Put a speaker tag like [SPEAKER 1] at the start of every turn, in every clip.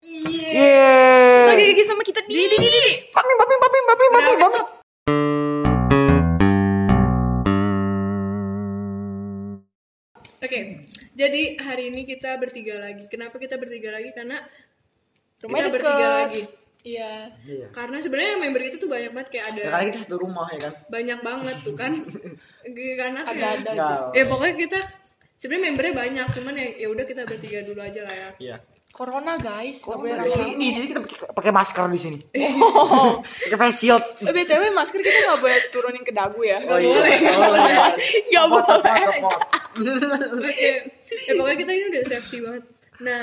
[SPEAKER 1] Iya. Di di di di.
[SPEAKER 2] Papi, papi, papi, papi,
[SPEAKER 1] Udah,
[SPEAKER 2] papi, papi.
[SPEAKER 1] stop. Oke. Jadi hari ini kita bertiga lagi. Kenapa kita bertiga lagi? Karena
[SPEAKER 3] Rumahnya
[SPEAKER 1] kita bertiga
[SPEAKER 3] deket.
[SPEAKER 1] lagi.
[SPEAKER 3] Iya.
[SPEAKER 2] Iya.
[SPEAKER 1] Karena sebenarnya member itu tuh banyak banget kayak ada
[SPEAKER 2] Ya, karena kita satu rumah ya kan.
[SPEAKER 1] banyak banget tuh kan. G- Karena kayak
[SPEAKER 3] Ada-ada.
[SPEAKER 2] Enggak.
[SPEAKER 1] ya pokoknya kita sebenarnya membernya banyak, cuman ya ya udah kita bertiga dulu aja lah ya.
[SPEAKER 2] Iya.
[SPEAKER 3] Corona iya. guys. nggak boleh
[SPEAKER 2] Di sini,
[SPEAKER 3] rame-rame.
[SPEAKER 2] di sini kita pakai- pakai masker di sini.
[SPEAKER 3] Oh.
[SPEAKER 2] Pakai face shield.
[SPEAKER 3] Eh, BTW masker kita nggak boleh turunin ke dagu ya.
[SPEAKER 2] Oh iya. Oh, iya.
[SPEAKER 3] Nggak
[SPEAKER 2] Copot, copot,
[SPEAKER 3] boleh.
[SPEAKER 2] copot.
[SPEAKER 1] Oke. Ya pokoknya kita ini udah safety banget. Nah,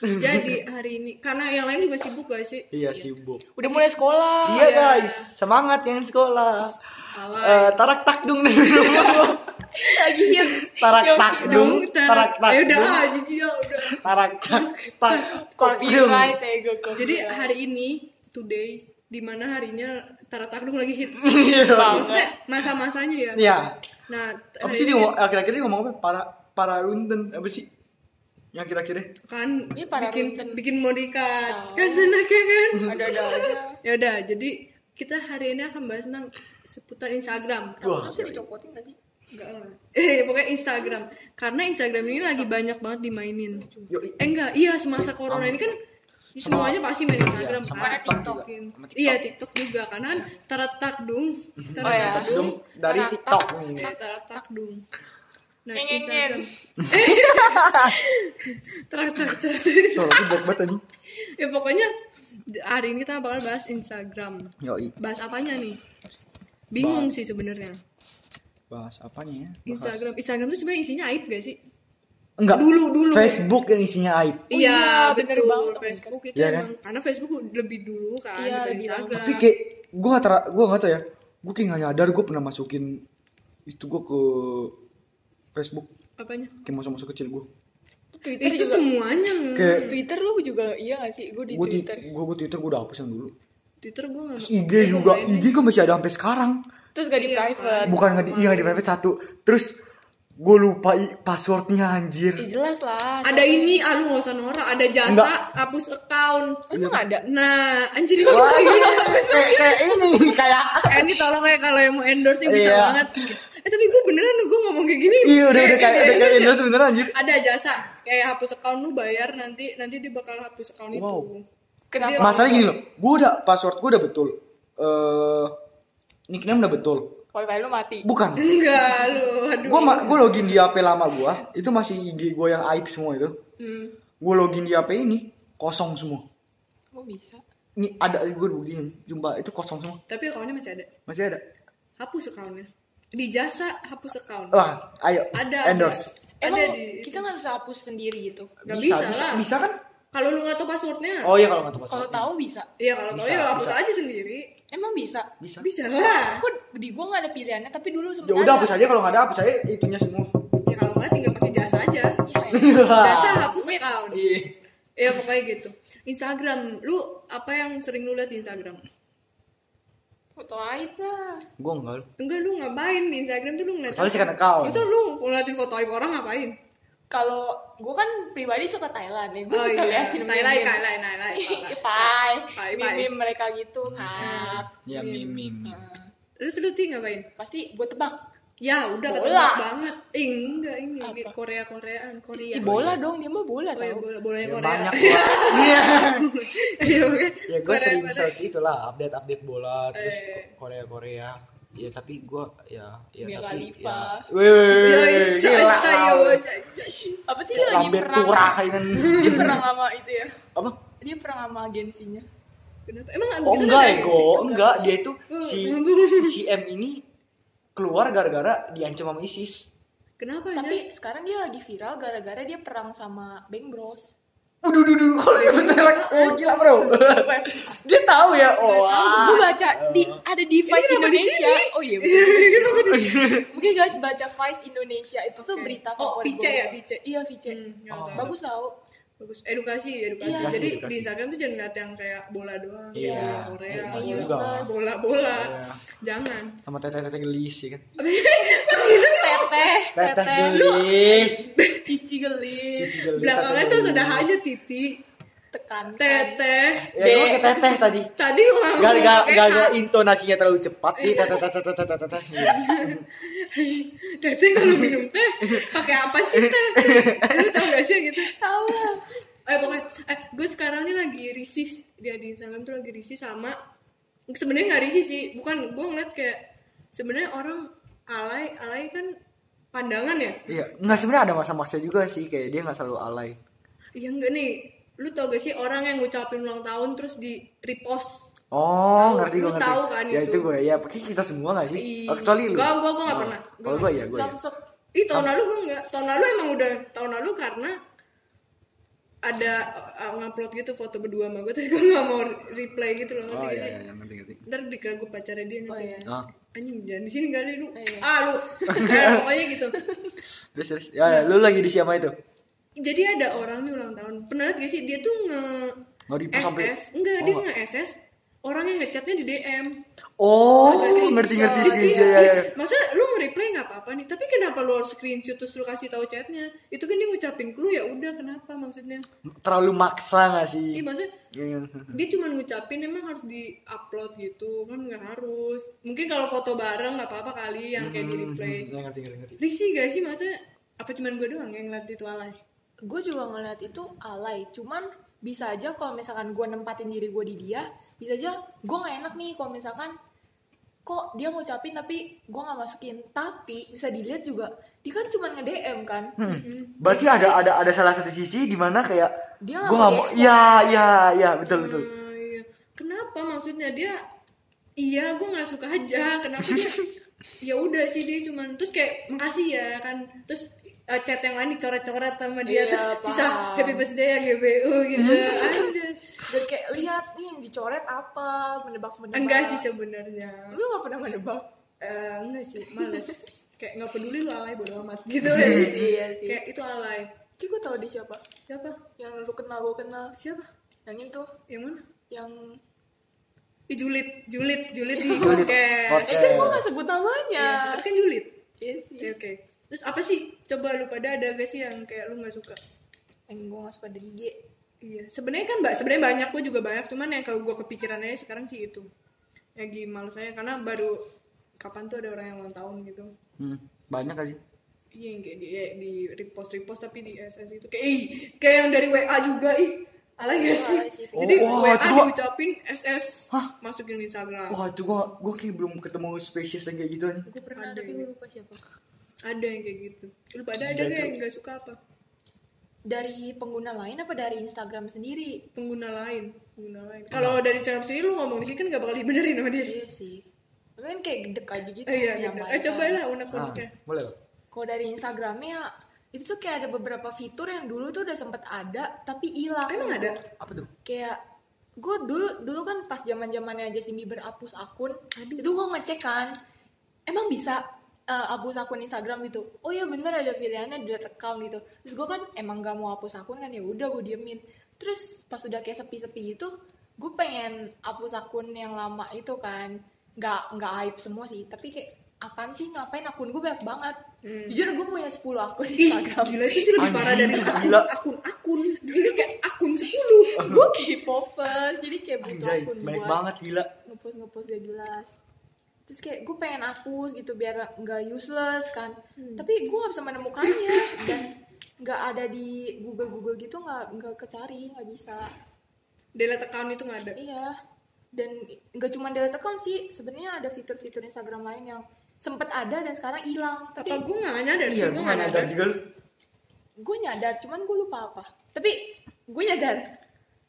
[SPEAKER 1] jadi hari ini karena yang lain juga sibuk gak sih?
[SPEAKER 2] Iya sibuk.
[SPEAKER 3] Udah mulai sekolah.
[SPEAKER 2] Iya guys, semangat yang sekolah.
[SPEAKER 1] Alay.
[SPEAKER 2] Eh, tarak takdung dari dulu.
[SPEAKER 3] Lagi hit.
[SPEAKER 2] Tarak
[SPEAKER 3] Yang
[SPEAKER 2] takdung, tarak
[SPEAKER 1] Ya udah
[SPEAKER 2] takdung,
[SPEAKER 1] ah, jijik ya udah.
[SPEAKER 2] tarak tak tak takdung.
[SPEAKER 3] Copyright ya gue copyright.
[SPEAKER 1] Jadi
[SPEAKER 2] Iya.
[SPEAKER 1] hari ini today di mana harinya Tara Takdung lagi hits.
[SPEAKER 2] Iya.
[SPEAKER 1] Maksudnya masa-masanya ya.
[SPEAKER 2] Iya.
[SPEAKER 1] Nah,
[SPEAKER 2] Apa
[SPEAKER 1] hari
[SPEAKER 2] sih dia
[SPEAKER 1] ini
[SPEAKER 2] ngomong- akhir-akhir dia ngomong apa? Para para runden apa sih? Yang akhir-akhirnya
[SPEAKER 1] kan
[SPEAKER 3] Ini para
[SPEAKER 1] bikin
[SPEAKER 3] runden.
[SPEAKER 1] bikin modikat.
[SPEAKER 3] Oh.
[SPEAKER 1] Kan anaknya kan.
[SPEAKER 3] ada-ada aja.
[SPEAKER 1] Ya udah, jadi kita hari ini akan bahas tentang seputar Instagram.
[SPEAKER 2] Wah.
[SPEAKER 3] Kenapa sih dicopotin tadi?
[SPEAKER 1] Enggak lah. Eh, pokoknya Instagram. Karena Instagram ini lagi banyak banget dimainin.
[SPEAKER 2] Yoi.
[SPEAKER 1] Eh enggak, iya semasa corona ini kan semuanya pasti main Instagram.
[SPEAKER 2] Iya, sama
[SPEAKER 1] Ada
[SPEAKER 2] TikTok juga. Iya.
[SPEAKER 1] TikTokin.
[SPEAKER 2] Sama TikTok.
[SPEAKER 1] Iya, TikTok juga karena kan teratak dung.
[SPEAKER 3] Oh,
[SPEAKER 2] ya.
[SPEAKER 3] iya.
[SPEAKER 1] Teratakdung.
[SPEAKER 2] Takdung dari
[SPEAKER 3] Tarak
[SPEAKER 2] TikTok nih.
[SPEAKER 3] Iya.
[SPEAKER 1] Teratakdung. Nah,
[SPEAKER 3] Ngeng, ngeng,
[SPEAKER 1] Instagram.
[SPEAKER 3] ngeng.
[SPEAKER 1] Teratak
[SPEAKER 2] Soalnya black banget anjing.
[SPEAKER 1] Ya pokoknya hari ini kita bakal bahas Instagram.
[SPEAKER 2] Yoi.
[SPEAKER 1] Bahas apanya nih? Bingung
[SPEAKER 2] Bahas.
[SPEAKER 1] sih sebenarnya.
[SPEAKER 2] Bahas apanya ya? Bahas-
[SPEAKER 1] Instagram, Instagram tuh sebenarnya isinya aib gak sih?
[SPEAKER 2] Enggak.
[SPEAKER 1] Dulu, dulu.
[SPEAKER 2] Facebook yang isinya aib.
[SPEAKER 1] iya,
[SPEAKER 3] iya,
[SPEAKER 1] bener
[SPEAKER 3] bener
[SPEAKER 1] betul.
[SPEAKER 3] banget.
[SPEAKER 1] Facebook itu
[SPEAKER 2] Iya kan?
[SPEAKER 1] emang karena Facebook lebih dulu kan
[SPEAKER 3] Iya,
[SPEAKER 1] daripada
[SPEAKER 3] lebih lama.
[SPEAKER 1] Instagram.
[SPEAKER 2] Tapi kayak gue gak tau gue gak tau ya. Gue kayak gak nyadar gue pernah masukin itu gue ke Facebook
[SPEAKER 1] apanya?
[SPEAKER 2] kayak masa-masa kecil gue.
[SPEAKER 3] Twitter
[SPEAKER 1] Itu
[SPEAKER 3] juga.
[SPEAKER 1] semuanya.
[SPEAKER 2] Kayak-
[SPEAKER 3] Twitter lu juga iya gak sih? Gue di
[SPEAKER 2] Gue
[SPEAKER 3] Twitter.
[SPEAKER 2] gue gue Twitter gue udah hapus yang dulu.
[SPEAKER 1] Twitter gue nggak.
[SPEAKER 2] Terus IG juga IG gue masih ada sampai sekarang.
[SPEAKER 3] Terus gak di
[SPEAKER 1] Iya,
[SPEAKER 3] private.
[SPEAKER 2] Bukan nggak di iya nggak di private satu. Terus gue lupa i- passwordnya
[SPEAKER 3] Ih,
[SPEAKER 2] anjir.
[SPEAKER 3] jelas lah. Kan
[SPEAKER 1] Ada ini, ah, lu nggak usah norak. Ada jasa,
[SPEAKER 2] Enggak.
[SPEAKER 1] hapus account.
[SPEAKER 3] Oh, Emang ada?
[SPEAKER 1] Nah, anjir ini.
[SPEAKER 2] Wah, iya. kayak kayak ini kayak
[SPEAKER 1] Eh, ini tolong ya kalau yang mau endorse nih bisa
[SPEAKER 2] Iya.
[SPEAKER 1] banget. Eh tapi gue beneran gue ngomong kayak gini.
[SPEAKER 2] iya udah udah kayak udah kayak endorse beneran anjir.
[SPEAKER 1] Ada jasa kayak hapus account lu bayar nanti nanti dia bakal hapus account
[SPEAKER 2] Wow.
[SPEAKER 1] itu.
[SPEAKER 3] Kenapa?
[SPEAKER 1] Dia-
[SPEAKER 2] Masalahnya gini loh, gue udah password gue udah betul. Eh nickname udah betul.
[SPEAKER 3] Wifi lu mati.
[SPEAKER 2] Bukan.
[SPEAKER 1] Enggak lu, aduh.
[SPEAKER 2] Gue ma- gue login di HP lama gue, itu masih IG gue yang aib semua itu.
[SPEAKER 3] Hmm.
[SPEAKER 2] Gue login di HP ini kosong semua.
[SPEAKER 3] Kok bisa?
[SPEAKER 2] Ini ada gue begini, jumpa itu kosong semua,
[SPEAKER 1] Tapi accountnya masih ada.
[SPEAKER 2] masih ada.
[SPEAKER 1] Hapus accountnya. Di jasa hapus account.
[SPEAKER 2] Wah, ayo
[SPEAKER 1] Ada.
[SPEAKER 2] Oh, endorse.
[SPEAKER 1] Ada, ada
[SPEAKER 3] Emang
[SPEAKER 1] di.
[SPEAKER 3] kita gak bisa hapus sendiri gitu?
[SPEAKER 1] Nggak
[SPEAKER 2] bisa,
[SPEAKER 1] bisa
[SPEAKER 2] bisa,
[SPEAKER 1] lah.
[SPEAKER 2] bisa kan?
[SPEAKER 1] Kalau lu nggak tahu passwordnya.
[SPEAKER 2] Oh iya kalau nggak tahu
[SPEAKER 3] Kalau
[SPEAKER 2] password.
[SPEAKER 3] tahu bisa.
[SPEAKER 1] Iya kalau tahu
[SPEAKER 2] Bisa,
[SPEAKER 1] ya hapus
[SPEAKER 2] bisa.
[SPEAKER 1] aja sendiri.
[SPEAKER 3] Emang bisa?
[SPEAKER 2] bisa.
[SPEAKER 1] Bisa lah.
[SPEAKER 3] Aku di gua gak ada pilihannya, tapi dulu sempet
[SPEAKER 2] Ya udah
[SPEAKER 3] ada.
[SPEAKER 2] hapus aja kalau nggak ada hapus aja itunya semua.
[SPEAKER 1] Ya kalau nggak tinggal pakai jasa aja.
[SPEAKER 3] Iya,
[SPEAKER 1] Jasa hapus account.
[SPEAKER 2] Iya.
[SPEAKER 1] Iya pokoknya gitu. Instagram, lu apa yang sering lu lihat di Instagram?
[SPEAKER 3] Foto aib lah.
[SPEAKER 2] Gue enggak. loh.
[SPEAKER 1] Enggak lu ngapain di Instagram tuh lu ngeliat.
[SPEAKER 2] Kecuali second account.
[SPEAKER 1] Itu lu ngeliatin foto aib orang ngapain?
[SPEAKER 3] Kalau gua kan pribadi suka Thailand ya, gua
[SPEAKER 1] Oh
[SPEAKER 3] suka
[SPEAKER 1] iya.
[SPEAKER 3] liatin
[SPEAKER 1] Thailand,
[SPEAKER 3] meme-meme. Iya,
[SPEAKER 1] Thailand, Thailand.
[SPEAKER 3] Pai,
[SPEAKER 1] Pai, pai.
[SPEAKER 3] meme mereka gitu
[SPEAKER 1] Hmm.
[SPEAKER 3] kan.
[SPEAKER 2] Ya mimim.
[SPEAKER 3] Nah,
[SPEAKER 1] Terus lu ti ngapain?
[SPEAKER 3] Pasti gua tebak.
[SPEAKER 1] Ya udah
[SPEAKER 3] Bola.
[SPEAKER 1] ketebak banget. Eh, enggak ini
[SPEAKER 3] Apa?
[SPEAKER 1] Korea Koreaan Korea.
[SPEAKER 3] Ih, bola dong, dia mah bola
[SPEAKER 1] Iya, Oh, ya,
[SPEAKER 3] tau.
[SPEAKER 1] bola bolanya
[SPEAKER 2] Ya,
[SPEAKER 1] Korea.
[SPEAKER 2] banyak. gua. Iya.
[SPEAKER 1] Iya, oke.
[SPEAKER 2] ya gue
[SPEAKER 1] Korea,
[SPEAKER 2] sering
[SPEAKER 1] Korea.
[SPEAKER 2] search itulah update update bola terus
[SPEAKER 1] Eh.
[SPEAKER 2] Korea Korea ya tapi gue ya ya
[SPEAKER 3] Mia
[SPEAKER 2] tapi
[SPEAKER 3] Khalifa.
[SPEAKER 2] ya Wih,
[SPEAKER 1] Yo, isa,
[SPEAKER 2] gila
[SPEAKER 1] isa, yo,
[SPEAKER 2] lu.
[SPEAKER 1] isa, isa.
[SPEAKER 3] Apa sih dia lagi
[SPEAKER 2] Lambert
[SPEAKER 3] perang?
[SPEAKER 2] Tura kainan
[SPEAKER 3] Dia perang sama itu ya.
[SPEAKER 2] ya kan. apa
[SPEAKER 3] Dia perang sama agensinya.
[SPEAKER 1] Kenapa? Emang
[SPEAKER 2] oh
[SPEAKER 1] gitu
[SPEAKER 2] enggak
[SPEAKER 1] ada
[SPEAKER 2] ya
[SPEAKER 1] gengsi?
[SPEAKER 2] gue enggak dia itu
[SPEAKER 1] Oh,
[SPEAKER 2] si
[SPEAKER 1] ampun.
[SPEAKER 2] si M ini keluar gara-gara diancam sama ISIS
[SPEAKER 1] Kenapa
[SPEAKER 3] Tapi
[SPEAKER 1] Nyai?
[SPEAKER 3] sekarang dia lagi viral gara-gara dia perang sama Bang Bros.
[SPEAKER 2] Waduh, duh, duh, kalau dia bener oh gila bro. dia tahu ya, oh.
[SPEAKER 1] Nggak tahu,
[SPEAKER 3] Gue baca di ada di
[SPEAKER 1] Ini kenapa
[SPEAKER 3] Vice
[SPEAKER 1] di
[SPEAKER 3] Indonesia.
[SPEAKER 1] sini? Hmm,
[SPEAKER 3] Oh iya.
[SPEAKER 1] Kenapa dia-
[SPEAKER 2] Iya.
[SPEAKER 3] Mungkin guys baca Vice Indonesia itu tuh
[SPEAKER 1] Oke.
[SPEAKER 3] berita
[SPEAKER 1] Oh,
[SPEAKER 3] favorit
[SPEAKER 1] Vice
[SPEAKER 3] gua.
[SPEAKER 1] ya, Vice.
[SPEAKER 3] Iya Vice.
[SPEAKER 1] Hmm, nggak tahu.
[SPEAKER 2] Oh.
[SPEAKER 1] Bagus,
[SPEAKER 3] Bagus tau.
[SPEAKER 1] bagus. Edukasi, edukasi.
[SPEAKER 3] Iya.
[SPEAKER 1] Jadi
[SPEAKER 2] Edukasi,
[SPEAKER 1] di
[SPEAKER 2] edukasi.
[SPEAKER 1] Instagram tuh jangan lihat yang kayak bola doang.
[SPEAKER 2] Iya.
[SPEAKER 1] Bola Korea,
[SPEAKER 2] Iya,
[SPEAKER 1] bola-
[SPEAKER 2] juga.
[SPEAKER 1] bola, bola.
[SPEAKER 2] Iya.
[SPEAKER 1] Jangan.
[SPEAKER 2] Sama teteh-teteh gelis ya kan.
[SPEAKER 3] Teteh,
[SPEAKER 2] Teteh
[SPEAKER 3] teteh,
[SPEAKER 2] gelis.
[SPEAKER 3] cici gelis.
[SPEAKER 2] Cici gelis,
[SPEAKER 1] Belakangnya
[SPEAKER 2] teteh
[SPEAKER 1] tuh
[SPEAKER 2] gelis.
[SPEAKER 1] sudah aja titik.
[SPEAKER 3] tekan
[SPEAKER 1] teteh
[SPEAKER 2] Ya gue ke teteh tadi.
[SPEAKER 1] tadi lu ngomong
[SPEAKER 2] Gara-gara
[SPEAKER 1] Iya, pakai Iya.
[SPEAKER 2] gara-gara
[SPEAKER 1] H.
[SPEAKER 2] intonasinya terlalu cepat nih. Teteh teteh teteh teteh teteh. Iya.
[SPEAKER 1] teteh kalau minum teh pakai apa sih teh teh lu tau gak sih yang gitu
[SPEAKER 3] tahu lah.
[SPEAKER 1] eh pokoknya eh gue sekarang ini lagi risih dia di Instagram tuh lagi risih sama sebenarnya nggak risih sih bukan gue ngeliat kayak sebenarnya orang alay alay kan pandangan ya
[SPEAKER 2] Iya, nggak sebenarnya ada masa-masa juga sih kayak dia nggak selalu alay.
[SPEAKER 1] iya enggak nih lu tau gak sih orang yang ngucapin ulang tahun terus di repost
[SPEAKER 2] Oh,
[SPEAKER 1] Tahu,
[SPEAKER 2] ngerti gue
[SPEAKER 1] lu
[SPEAKER 2] ngerti.
[SPEAKER 1] tahu kan
[SPEAKER 2] ya
[SPEAKER 1] itu.
[SPEAKER 2] itu gue ya, pokoknya kita semua nggak sih?
[SPEAKER 1] Ih,
[SPEAKER 2] Oh, kecuali lu.
[SPEAKER 1] nggak, gua- gua nggak
[SPEAKER 2] Oh.
[SPEAKER 1] pernah. Gua
[SPEAKER 2] Kalau gue ya, gue ya.
[SPEAKER 3] Samsung
[SPEAKER 1] ih tahun lalu gue enggak tahun lalu emang udah tahun lalu karena ada uh, ngupload gitu foto berdua sama gue terus gue nggak mau reply gitu loh
[SPEAKER 2] Oh
[SPEAKER 1] ngerti
[SPEAKER 2] iya
[SPEAKER 1] nggak?
[SPEAKER 2] iya, ngerti ngerti.
[SPEAKER 1] ntar dikira gue pacarnya dia
[SPEAKER 3] oh
[SPEAKER 1] nanti.
[SPEAKER 3] ya
[SPEAKER 2] Ah,
[SPEAKER 1] anjing jangan di sini kali lu
[SPEAKER 3] Iya.
[SPEAKER 1] ah lu Eh, pokoknya gitu
[SPEAKER 2] terus terus. Ya, ya,
[SPEAKER 1] Iya.
[SPEAKER 2] lu lagi di siapa itu?
[SPEAKER 1] jadi ada orang nih ulang tahun pernah liat gak sih dia tuh nge
[SPEAKER 2] Nggak di sampai.
[SPEAKER 1] SS enggak dia
[SPEAKER 2] Oh.
[SPEAKER 1] nge SS orang yang ngechatnya di DM
[SPEAKER 2] Oh,
[SPEAKER 1] Agak screenshot.
[SPEAKER 2] ngerti ngerti
[SPEAKER 1] Terus
[SPEAKER 2] sih.
[SPEAKER 1] dia-
[SPEAKER 2] Ya, ya.
[SPEAKER 1] dia- Iya, maksudnya lu nge-reply nggak apa-apa nih tapi kenapa lu harus screenshot terus lu kasih tahu chatnya itu kan dia ngucapin ke lu ya udah kenapa maksudnya
[SPEAKER 2] Terlalu maksa nggak sih?
[SPEAKER 1] Ih, maksudnya
[SPEAKER 2] Iya.
[SPEAKER 1] dia cuma ngucapin emang harus di upload gitu kan nggak harus mungkin kalau foto bareng nggak apa-apa kali yang Iya, kayak di replay
[SPEAKER 2] Ya, ngerti ngerti ngerti.
[SPEAKER 1] risih gak sih maksudnya apa cuman gue doang yang ngeliat itu alay
[SPEAKER 3] gue juga ngeliat itu alay cuman bisa aja kalau misalkan gue nempatin diri gue di dia bisa aja gue nggak enak nih kalau misalkan kok dia ngucapin tapi gue nggak masukin tapi bisa dilihat juga dia kan cuma nge DM kan
[SPEAKER 2] Hmm.
[SPEAKER 1] Mm.
[SPEAKER 2] Berarti ada ada ada salah satu sisi di mana kayak
[SPEAKER 3] dia nggak
[SPEAKER 2] gue
[SPEAKER 3] mau
[SPEAKER 2] nggak mau.
[SPEAKER 3] di-expose.
[SPEAKER 2] Iya iya iya betul betul.
[SPEAKER 1] Ah, iya. Kenapa maksudnya dia? Iya, gue nggak suka aja. Kenapa dia? ya udah sih dia cuman terus kayak makasih ya kan. Terus eh, chat yang lain dicoret-coret sama dia
[SPEAKER 3] Iya,
[SPEAKER 1] terus sisa
[SPEAKER 3] paham.
[SPEAKER 1] happy birthday ya GBU gitu.
[SPEAKER 2] Hmm.
[SPEAKER 1] Ada.
[SPEAKER 3] dan kayak lihat nih yang dicoret apa menebak menebak
[SPEAKER 1] Enggak sih sebenarnya.
[SPEAKER 3] lu nggak pernah menebak
[SPEAKER 1] Eh, enggak sih, males. kayak nggak peduli lu alay bodo amat gitu
[SPEAKER 2] Hmm.
[SPEAKER 1] ya sih.
[SPEAKER 3] iya kayak
[SPEAKER 1] kayak itu alay.
[SPEAKER 3] gue tau dia siapa
[SPEAKER 1] Siapa?
[SPEAKER 3] yang lu kenal gue kenal
[SPEAKER 1] Siapa?
[SPEAKER 3] yang itu
[SPEAKER 1] Yang mana?
[SPEAKER 3] yang
[SPEAKER 1] Ih, Julit, Julit, Julit di
[SPEAKER 2] Julit.
[SPEAKER 1] podcast.
[SPEAKER 2] Podcast.
[SPEAKER 3] eh kan gue nggak sebut namanya
[SPEAKER 1] Iya, tapi kan Julit.
[SPEAKER 3] iya
[SPEAKER 1] Oke oke. Terus apa sih? Coba lu pada ada gak sih yang kayak lu nggak suka?
[SPEAKER 3] yang gue nggak suka dari IG
[SPEAKER 1] Iya. Sebenarnya kan mbak, sebenarnya banyak gue juga banyak. Cuman yang kalau gue kepikirannya sekarang sih itu. Lagi males saya karena baru kapan tuh ada orang yang ulang tahun gitu.
[SPEAKER 2] Hmm, Banyak aja.
[SPEAKER 1] Iya yang kayak di, di repost repost tapi di SS itu kayak ih, kayak yang dari WA juga ih. Alay gak sih?
[SPEAKER 3] Alay iya sih.
[SPEAKER 2] Oh,
[SPEAKER 1] Jadi
[SPEAKER 2] wah,
[SPEAKER 1] WA
[SPEAKER 2] itu gua-
[SPEAKER 1] diucapin SS
[SPEAKER 2] Hah?
[SPEAKER 1] masukin di Instagram.
[SPEAKER 2] Wah itu gua gua kayak belum ketemu spesies yang kayak gitu nih.
[SPEAKER 3] gue pernah
[SPEAKER 1] Ada
[SPEAKER 3] tapi
[SPEAKER 1] ya.
[SPEAKER 3] gue lupa siapa
[SPEAKER 1] Ada yang kayak gitu. Lu pada ada gak
[SPEAKER 2] Gila, itu.
[SPEAKER 1] yang gak suka apa?
[SPEAKER 3] dari pengguna lain apa dari Instagram sendiri
[SPEAKER 1] pengguna lain pengguna lain kalau
[SPEAKER 2] Nah.
[SPEAKER 1] dari Instagram sendiri lu ngomong di sini kan gak bakal dibenerin sama dia
[SPEAKER 3] iya sih tapi kan kayak gedek aja gitu
[SPEAKER 1] Eh, iya, gitu.
[SPEAKER 3] nyamain
[SPEAKER 1] Eh, ya.
[SPEAKER 3] kan.
[SPEAKER 1] coba lah unek
[SPEAKER 2] Ah,
[SPEAKER 1] uneknya.
[SPEAKER 2] boleh. Kak?
[SPEAKER 3] kalau dari Instagramnya itu tuh kayak ada beberapa fitur yang dulu tuh udah sempet ada tapi hilang
[SPEAKER 1] Emang ada?
[SPEAKER 2] Apa tuh?
[SPEAKER 3] kayak gue dulu dulu kan pas zaman zamannya Justin Bieber hapus akun itu gue ngecek kan emang bisa eh, hapus akun Instagram gitu oh iya bener ada pilihannya delete account gitu terus gue kan emang gak mau hapus akun kan ya udah gue diemin terus pas udah kayak sepi-sepi gitu gue pengen hapus akun yang lama itu kan nggak nggak aib semua sih tapi kayak apaan sih ngapain akun gue banyak banget
[SPEAKER 1] Hmm.
[SPEAKER 3] jujur gue punya 10 akun
[SPEAKER 1] Ih,
[SPEAKER 3] Instagram
[SPEAKER 1] gila itu sih lebih parah dari
[SPEAKER 2] Anjing,
[SPEAKER 1] akun,
[SPEAKER 2] gila.
[SPEAKER 1] akun akun ini kayak akun 10
[SPEAKER 3] gue K-popers jadi kayak butuh
[SPEAKER 2] Anjay,
[SPEAKER 3] akun
[SPEAKER 2] banyak
[SPEAKER 3] buat
[SPEAKER 2] banget gila.
[SPEAKER 3] ngepost ngepost gak jelas terus kayak gue pengen hapus gitu biar nggak useless kan
[SPEAKER 1] Hmm.
[SPEAKER 3] tapi gue nggak bisa menemukannya dan nggak ada di Google Google gitu nggak nggak kecari nggak bisa
[SPEAKER 1] delete account itu nggak ada
[SPEAKER 3] iya dan nggak cuma delete account sih sebenarnya ada fitur-fitur Instagram lain yang sempet ada dan sekarang hilang
[SPEAKER 1] apa
[SPEAKER 3] tapi
[SPEAKER 1] gue nggak nyadar sih
[SPEAKER 2] Iya,
[SPEAKER 1] gue
[SPEAKER 2] gua
[SPEAKER 1] nggak
[SPEAKER 2] nggak
[SPEAKER 1] nyadar
[SPEAKER 2] nyadar juga lu.
[SPEAKER 3] gue nyadar cuman gue lupa apa tapi gue nyadar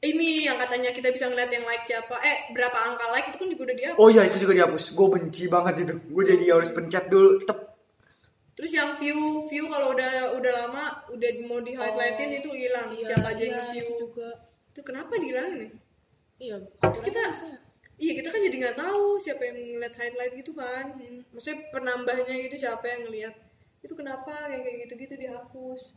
[SPEAKER 1] ini yang katanya kita bisa ngeliat yang like siapa eh berapa angka like itu kan juga udah dihapus
[SPEAKER 2] Oh iya itu juga dihapus. Gue benci banget itu. Gue jadi harus pencet dulu. Tep.
[SPEAKER 1] terus yang view view kalau udah udah lama udah mau di highlightin itu hilang
[SPEAKER 3] Iya,
[SPEAKER 1] siapa aja
[SPEAKER 3] iya,
[SPEAKER 1] yang view
[SPEAKER 3] itu juga
[SPEAKER 1] itu kenapa dihilangin ya?
[SPEAKER 3] iya
[SPEAKER 1] Kita-
[SPEAKER 3] bisa ya.
[SPEAKER 1] Iya kita kan jadi nggak tahu siapa yang ngeliat highlight gitu kan. Maksudnya penambahnya gitu siapa yang ngeliat itu kenapa kayak kayak gitu-gitu dihapus.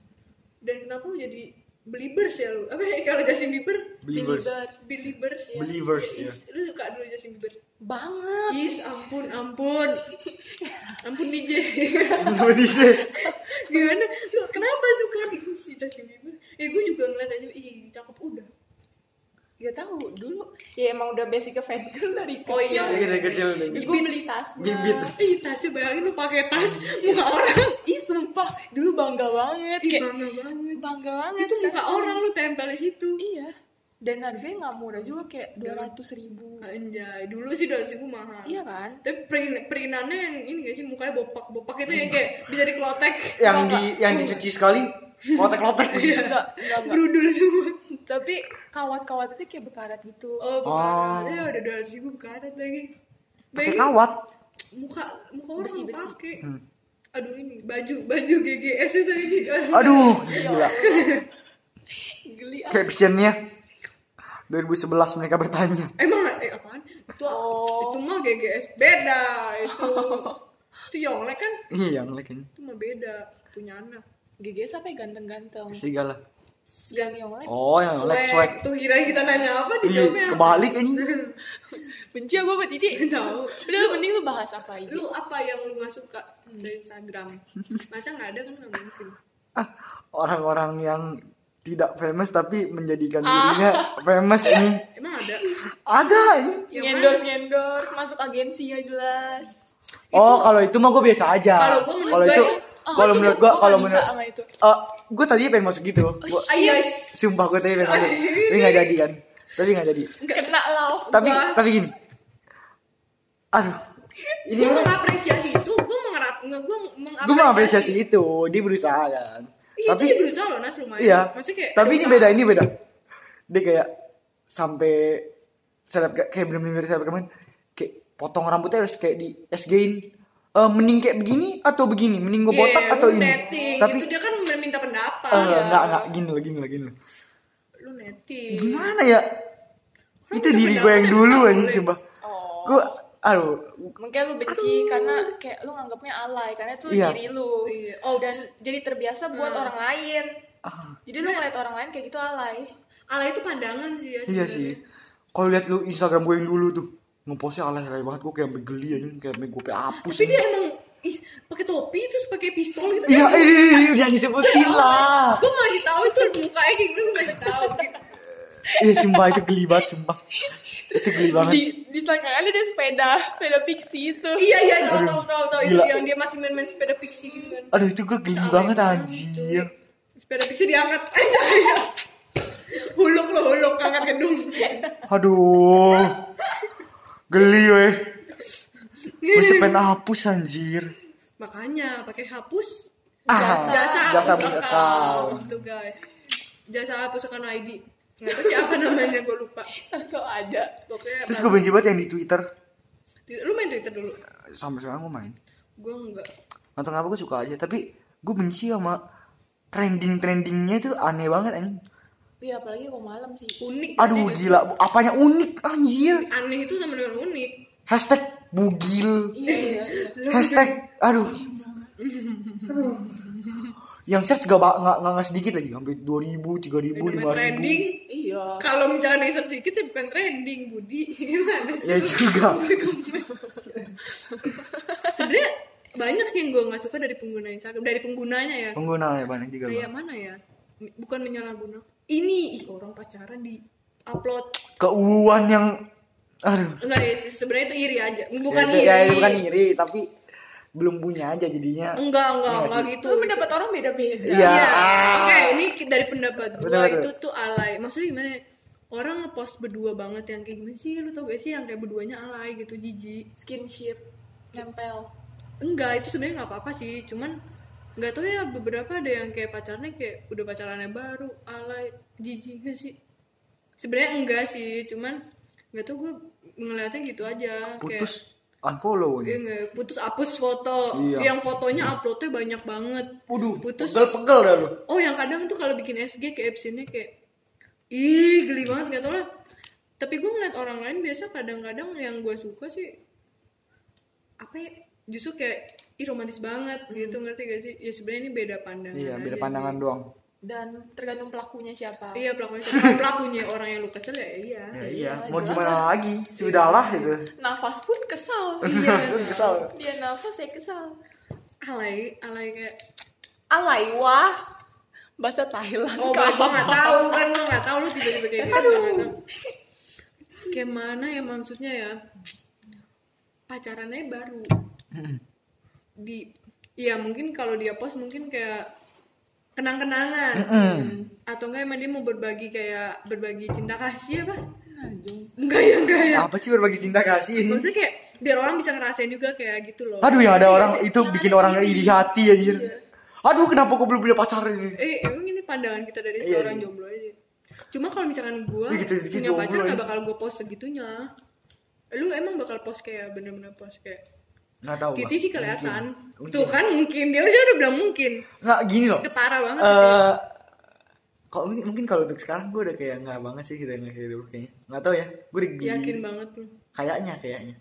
[SPEAKER 1] Dan kenapa lu jadi believers ya lu? Apa ya, kalau Justin Bieber?
[SPEAKER 2] Believers.
[SPEAKER 3] Bieber.
[SPEAKER 1] Believers. ya.
[SPEAKER 2] Believers, ya.
[SPEAKER 1] Is- Lu suka dulu Justin Bieber?
[SPEAKER 3] banget
[SPEAKER 1] Is, ampun, ampun. ampun DJ.
[SPEAKER 2] Kenapa dice?
[SPEAKER 1] Gimana? Lu kenapa suka di si Justin Bieber? Ya gue juga ngeliat aja, ih cakep udah.
[SPEAKER 3] Gak tahu dulu ya emang udah basic ke fangirl dari kecil.
[SPEAKER 1] Oh iya.
[SPEAKER 2] Iya, dari kecil dari
[SPEAKER 3] Ibu
[SPEAKER 2] kecil.
[SPEAKER 3] beli tasnya.
[SPEAKER 2] Bibit.
[SPEAKER 1] Ih tasnya bayangin lu pakai tas muka orang.
[SPEAKER 3] Ih sumpah dulu bangga banget.
[SPEAKER 1] Ih
[SPEAKER 3] Kayak,
[SPEAKER 1] bangga banget.
[SPEAKER 3] bangga banget.
[SPEAKER 1] Itu muka
[SPEAKER 3] sekarang.
[SPEAKER 1] orang lu tempel di situ.
[SPEAKER 3] Iya. Dan harganya nggak murah juga kayak dua ratus ribu.
[SPEAKER 1] Anjay, dulu sih 200 ribu mahal.
[SPEAKER 3] Iya kan?
[SPEAKER 1] Tapi perin perinannya yang ini gak sih mukanya bopak-bopak itu
[SPEAKER 2] Iya.
[SPEAKER 1] yang kayak bisa dikelotek.
[SPEAKER 2] Yang di yang dicuci sekali lotek-lotek.
[SPEAKER 3] Enggak, enggak, enggak.
[SPEAKER 1] Brudul semua.
[SPEAKER 3] Tapi kawat-kawat itu kayak berkarat gitu.
[SPEAKER 1] Oh, bekarat.
[SPEAKER 2] Oh.
[SPEAKER 1] Ya udah 200 ribu bekarat lagi.
[SPEAKER 2] Pakai
[SPEAKER 1] Bayangin
[SPEAKER 2] kawat.
[SPEAKER 1] muka muka orang lu
[SPEAKER 3] Besi-besi.
[SPEAKER 1] pakai.
[SPEAKER 2] Hmm.
[SPEAKER 1] Aduh ini baju baju GGS itu lagi.
[SPEAKER 2] Aduh,
[SPEAKER 3] Ya
[SPEAKER 2] gila.
[SPEAKER 3] Geli ah.
[SPEAKER 2] Captionnya 2011 mereka bertanya.
[SPEAKER 1] Emang eh apaan? Itu
[SPEAKER 3] Oh.
[SPEAKER 1] itu mah GGS beda itu. itu Yonglek kan?
[SPEAKER 2] Iya, yang kayaknya.
[SPEAKER 1] Itu mah beda punya anak.
[SPEAKER 3] GGS apa ya ganteng-ganteng?
[SPEAKER 2] Serigala.
[SPEAKER 3] Yang yang lain
[SPEAKER 2] Oh, yang like swag.
[SPEAKER 1] Swag. Tuh kira kita nanya apa
[SPEAKER 2] Iya,
[SPEAKER 1] dijawabnya? apa?
[SPEAKER 2] kebalik anjing.
[SPEAKER 3] Benci aku sama Titi.
[SPEAKER 1] Tahu.
[SPEAKER 3] Udah mending lu bahas apa ini?
[SPEAKER 1] Lu apa yang lu gak suka dari Instagram? Masa nggak ada kan nggak mungkin.
[SPEAKER 2] Ah, orang-orang yang tidak famous tapi menjadikan
[SPEAKER 3] Ah.
[SPEAKER 2] dirinya famous ini.
[SPEAKER 1] Emang ada?
[SPEAKER 2] Ada ini.
[SPEAKER 1] Yang
[SPEAKER 3] ngendor ngendor masuk agensi ya jelas.
[SPEAKER 2] Oh, kalau itu mah gue biasa aja.
[SPEAKER 1] Kalau gua menurut
[SPEAKER 2] Kalau
[SPEAKER 1] gua
[SPEAKER 2] itu
[SPEAKER 1] itu-
[SPEAKER 3] Ah,
[SPEAKER 2] kalau
[SPEAKER 3] itu
[SPEAKER 2] menurut
[SPEAKER 3] gua-
[SPEAKER 2] gua
[SPEAKER 3] gua
[SPEAKER 2] kalau
[SPEAKER 3] nggak bisa
[SPEAKER 2] menurut
[SPEAKER 3] sama itu.
[SPEAKER 2] eh gue tadinya pengen masuk gitu. Gua,
[SPEAKER 1] Ayo guys.
[SPEAKER 2] sumpah gue tadinya pengen masuk. Tapi nggak jadi kan. Tapi nggak jadi.
[SPEAKER 3] Kena lau.
[SPEAKER 2] Tapi
[SPEAKER 1] Gua-
[SPEAKER 2] tapi gini. Aduh. Ini
[SPEAKER 1] Gue mengapresiasi itu, gue mengerap, nggak gue mengapresiasi.
[SPEAKER 2] gue mengapresiasi itu. Dia berusaha kan.
[SPEAKER 1] Iya,
[SPEAKER 2] tapi
[SPEAKER 1] tapi dia berusaha loh Nas lumayan.
[SPEAKER 2] Iya.
[SPEAKER 1] Maksudnya kayak
[SPEAKER 2] Tapi ini
[SPEAKER 1] berusaha.
[SPEAKER 2] beda, ini beda. Dia kayak sampai seleb kayak bener-bener selebgram kan, kayak potong rambutnya harus kayak di SG-in. Eh, mending kayak begini atau begini? Mending gue
[SPEAKER 1] Iya,
[SPEAKER 2] botak atau
[SPEAKER 1] lu
[SPEAKER 2] ini?
[SPEAKER 1] netting,
[SPEAKER 2] Tapi
[SPEAKER 1] itu dia kan minta pendapat.
[SPEAKER 2] eh, enggak enggak gini loh, gini loh, gini loh.
[SPEAKER 1] Iya. Lu netting.
[SPEAKER 2] Gimana ya?
[SPEAKER 1] Orang
[SPEAKER 2] itu
[SPEAKER 1] minta
[SPEAKER 2] diri gue yang
[SPEAKER 1] pendapat,
[SPEAKER 2] dulu
[SPEAKER 1] emang
[SPEAKER 2] anjing
[SPEAKER 1] boleh.
[SPEAKER 2] coba.
[SPEAKER 3] Oh.
[SPEAKER 2] Gue aduh,
[SPEAKER 3] Mungkin lu benci karena kayak lu nganggapnya alay karena itu
[SPEAKER 2] Iya.
[SPEAKER 3] diri lu.
[SPEAKER 1] Iya. Oh.
[SPEAKER 3] dan jadi terbiasa buat
[SPEAKER 1] Hmm.
[SPEAKER 3] orang lain.
[SPEAKER 2] ah,
[SPEAKER 3] Jadi lu ngeliat orang lain kayak gitu alay.
[SPEAKER 1] Ala itu pandangan sih ya
[SPEAKER 2] iya
[SPEAKER 1] sebenarnya.
[SPEAKER 2] sih. Kalau lihat lu Instagram gue yang dulu tuh, ngepostnya alay-alay banget gue kayak sampai geli anjing, kayak sampai gue sampai hapus.
[SPEAKER 1] Tapi
[SPEAKER 2] anjing.
[SPEAKER 1] dia emang ih, pakai topi terus pakai pistol gitu.
[SPEAKER 2] Iya, ini udah disebutin lah.
[SPEAKER 1] Gue masih tahu itu mukanya kayak gitu, gue masih tahu.
[SPEAKER 2] Iya sumpah itu geli banget sumpah. Itu geli banget.
[SPEAKER 3] Di di selangkangannya ada sepeda, sepeda pixie itu.
[SPEAKER 1] iya iya tahu
[SPEAKER 2] Aduh,
[SPEAKER 1] tahu tahu tahu itu
[SPEAKER 2] gila.
[SPEAKER 1] yang dia masih main-main sepeda pixie gitu kan.
[SPEAKER 2] Aduh itu gue geli
[SPEAKER 1] Alay
[SPEAKER 2] banget
[SPEAKER 1] banget,
[SPEAKER 2] anjir.
[SPEAKER 1] Sepeda pixie diangkat. Anjay. Huluk lo huluk angkat gedung.
[SPEAKER 2] Aduh. Geli weh. Gue pengen hapus anjir.
[SPEAKER 1] Makanya pakai hapus
[SPEAKER 2] Ah,
[SPEAKER 1] jasa
[SPEAKER 2] jasa
[SPEAKER 1] hapus
[SPEAKER 2] hapus
[SPEAKER 1] account.
[SPEAKER 2] account.
[SPEAKER 1] Gitu guys. Jasa hapus account ID. Nggak tahu siapa namanya gue lupa.
[SPEAKER 3] Atau Ah, ada.
[SPEAKER 1] Pokoknya
[SPEAKER 2] Terus gue benci banget yang di Twitter.
[SPEAKER 1] lu main Twitter dulu.
[SPEAKER 2] Sampai sekarang gue main.
[SPEAKER 1] Gue enggak.
[SPEAKER 2] Gak tau kenapa gue suka aja. Tapi gue benci sama trending-trendingnya itu aneh banget anjing.
[SPEAKER 3] Iya apalagi kok malam sih.
[SPEAKER 1] Unik.
[SPEAKER 2] Aduh
[SPEAKER 1] pasti.
[SPEAKER 2] gila. Apanya unik anjir.
[SPEAKER 1] Aneh itu sama dengan unik.
[SPEAKER 2] Hashtag bugil.
[SPEAKER 3] Iya iya. iya.
[SPEAKER 2] Hashtag, aduh. yang search gak, ba- gak, gak, gak sedikit lagi, sampai 2000, 3000,
[SPEAKER 1] Ini
[SPEAKER 2] 5000.
[SPEAKER 1] trending.
[SPEAKER 3] Iya.
[SPEAKER 1] Kalau misalnya di search dikit ya bukan trending, Budi. Gimana sih?
[SPEAKER 2] Ya juga.
[SPEAKER 1] Sebenarnya banyak sih yang gue nggak suka dari pengguna Instagram, dari penggunanya ya.
[SPEAKER 2] Pengguna ya banyak juga.
[SPEAKER 1] Kayak
[SPEAKER 2] Bang.
[SPEAKER 1] mana ya? Bukan menyalahgunakan. Ini ih orang pacaran di upload.
[SPEAKER 2] Keuuan yang aduh.
[SPEAKER 1] Enggak ya, sih, sebenarnya itu iri aja. Bukan
[SPEAKER 2] ya,
[SPEAKER 1] iri.
[SPEAKER 2] Ya, bukan iri, tapi belum punya aja jadinya.
[SPEAKER 1] Enggak, enggak,
[SPEAKER 2] Enggak
[SPEAKER 1] enggak
[SPEAKER 2] sih.
[SPEAKER 1] gitu.
[SPEAKER 3] Lu pendapat orang beda-beda.
[SPEAKER 2] Iya.
[SPEAKER 1] Iya.
[SPEAKER 2] Ah.
[SPEAKER 1] Oke, ini ki- dari pendapat
[SPEAKER 2] Betul,
[SPEAKER 1] gua
[SPEAKER 2] betul.
[SPEAKER 1] itu tuh alay. Maksudnya gimana? ya? Orang ngepost berdua banget yang kayak gimana sih? Lu tau gak sih yang kayak berduanya alay gitu, jijik.
[SPEAKER 3] Skinship, nempel.
[SPEAKER 1] Enggak, itu sebenarnya nggak apa-apa sih. Cuman nggak tahu ya beberapa ada yang kayak pacarnya kayak udah pacarannya baru alay jijik gak sih. Sebenarnya enggak sih, cuman nggak tahu gue ngeliatnya gitu aja. Kayak,
[SPEAKER 2] Putus unfollow
[SPEAKER 1] Iya,
[SPEAKER 2] nih.
[SPEAKER 1] nggak, putus hapus foto
[SPEAKER 2] Iya.
[SPEAKER 1] yang fotonya uploadnya banyak banget
[SPEAKER 2] Waduh,
[SPEAKER 1] putus.
[SPEAKER 2] Pegel-pegel dah lu.
[SPEAKER 1] oh yang kadang tuh kalau bikin SG kayak absennya kayak ih geli banget nggak tau lah tapi gue ngeliat orang lain biasa kadang-kadang yang gue suka sih apa ya justru kayak ih romantis banget gitu ngerti gak sih ya sebenarnya ini beda pandangan
[SPEAKER 2] Hmm. Iya, beda
[SPEAKER 1] aja
[SPEAKER 2] pandangan
[SPEAKER 1] sih.
[SPEAKER 2] doang.
[SPEAKER 3] Dan tergantung pelakunya siapa.
[SPEAKER 1] iya pelakunya siapa? pelakunya orang yang lu kesel ya iya
[SPEAKER 2] Ya, iya,
[SPEAKER 3] iya,
[SPEAKER 2] mau
[SPEAKER 3] jelas
[SPEAKER 2] gimana lagi? Sudahlah gitu.
[SPEAKER 3] Nafas pun kesal.
[SPEAKER 1] kan?
[SPEAKER 2] Iya, kesal.
[SPEAKER 3] Dia nafas saya kesal.
[SPEAKER 1] alay alay kayak
[SPEAKER 3] Alay wah. bahasa Thailand
[SPEAKER 1] Oh,
[SPEAKER 3] Kak.
[SPEAKER 1] gak nggak tahu kan lu nggak tahu lu tiba-tiba kayak gitu. Aduh. Kayak mana ya maksudnya ya? Pacarannya baru
[SPEAKER 2] Mm-mm.
[SPEAKER 1] di Iya mungkin kalau dia post mungkin kayak kenang-kenangan
[SPEAKER 2] Mm-mm.
[SPEAKER 1] atau enggak emang dia mau berbagi kayak berbagi cinta kasih apa?
[SPEAKER 3] Nah, Jung.
[SPEAKER 1] Enggak ya enggak ya.
[SPEAKER 2] Apa sih berbagi cinta kasih?
[SPEAKER 1] Maksudnya kayak biar orang bisa ngerasain juga kayak gitu loh.
[SPEAKER 2] Aduh yang ada orang
[SPEAKER 1] Iya sih.
[SPEAKER 2] itu bikin orang iri hati anjir. Aduh kenapa gue belum punya pacar ini?
[SPEAKER 1] Eh, emang ini pandangan kita dari
[SPEAKER 2] Iya,
[SPEAKER 1] seorang
[SPEAKER 2] iya.
[SPEAKER 1] jomblo aja. Cuma kalau misalkan gua
[SPEAKER 2] Iya, gitu-gitu
[SPEAKER 1] punya
[SPEAKER 2] jomblo
[SPEAKER 1] pacar
[SPEAKER 2] ya.
[SPEAKER 1] nggak bakal gua post segitunya. Lu emang bakal post kayak bener-bener post kayak
[SPEAKER 2] Nggak tahu.
[SPEAKER 1] gitu
[SPEAKER 2] Bang.
[SPEAKER 1] sih kelihatan.
[SPEAKER 2] Mungkin.
[SPEAKER 1] Tuh kan mungkin dia aja udah bilang mungkin.
[SPEAKER 2] Nggak gini loh.
[SPEAKER 1] Ketara banget.
[SPEAKER 2] Eh kalau mungkin, mungkin kalau untuk sekarang gue udah kayak nggak banget sih kita nggak kayak dulu kayaknya. Nggak tahu ya. Gue di,
[SPEAKER 1] Yakin banget lu.
[SPEAKER 2] kayaknya kayaknya.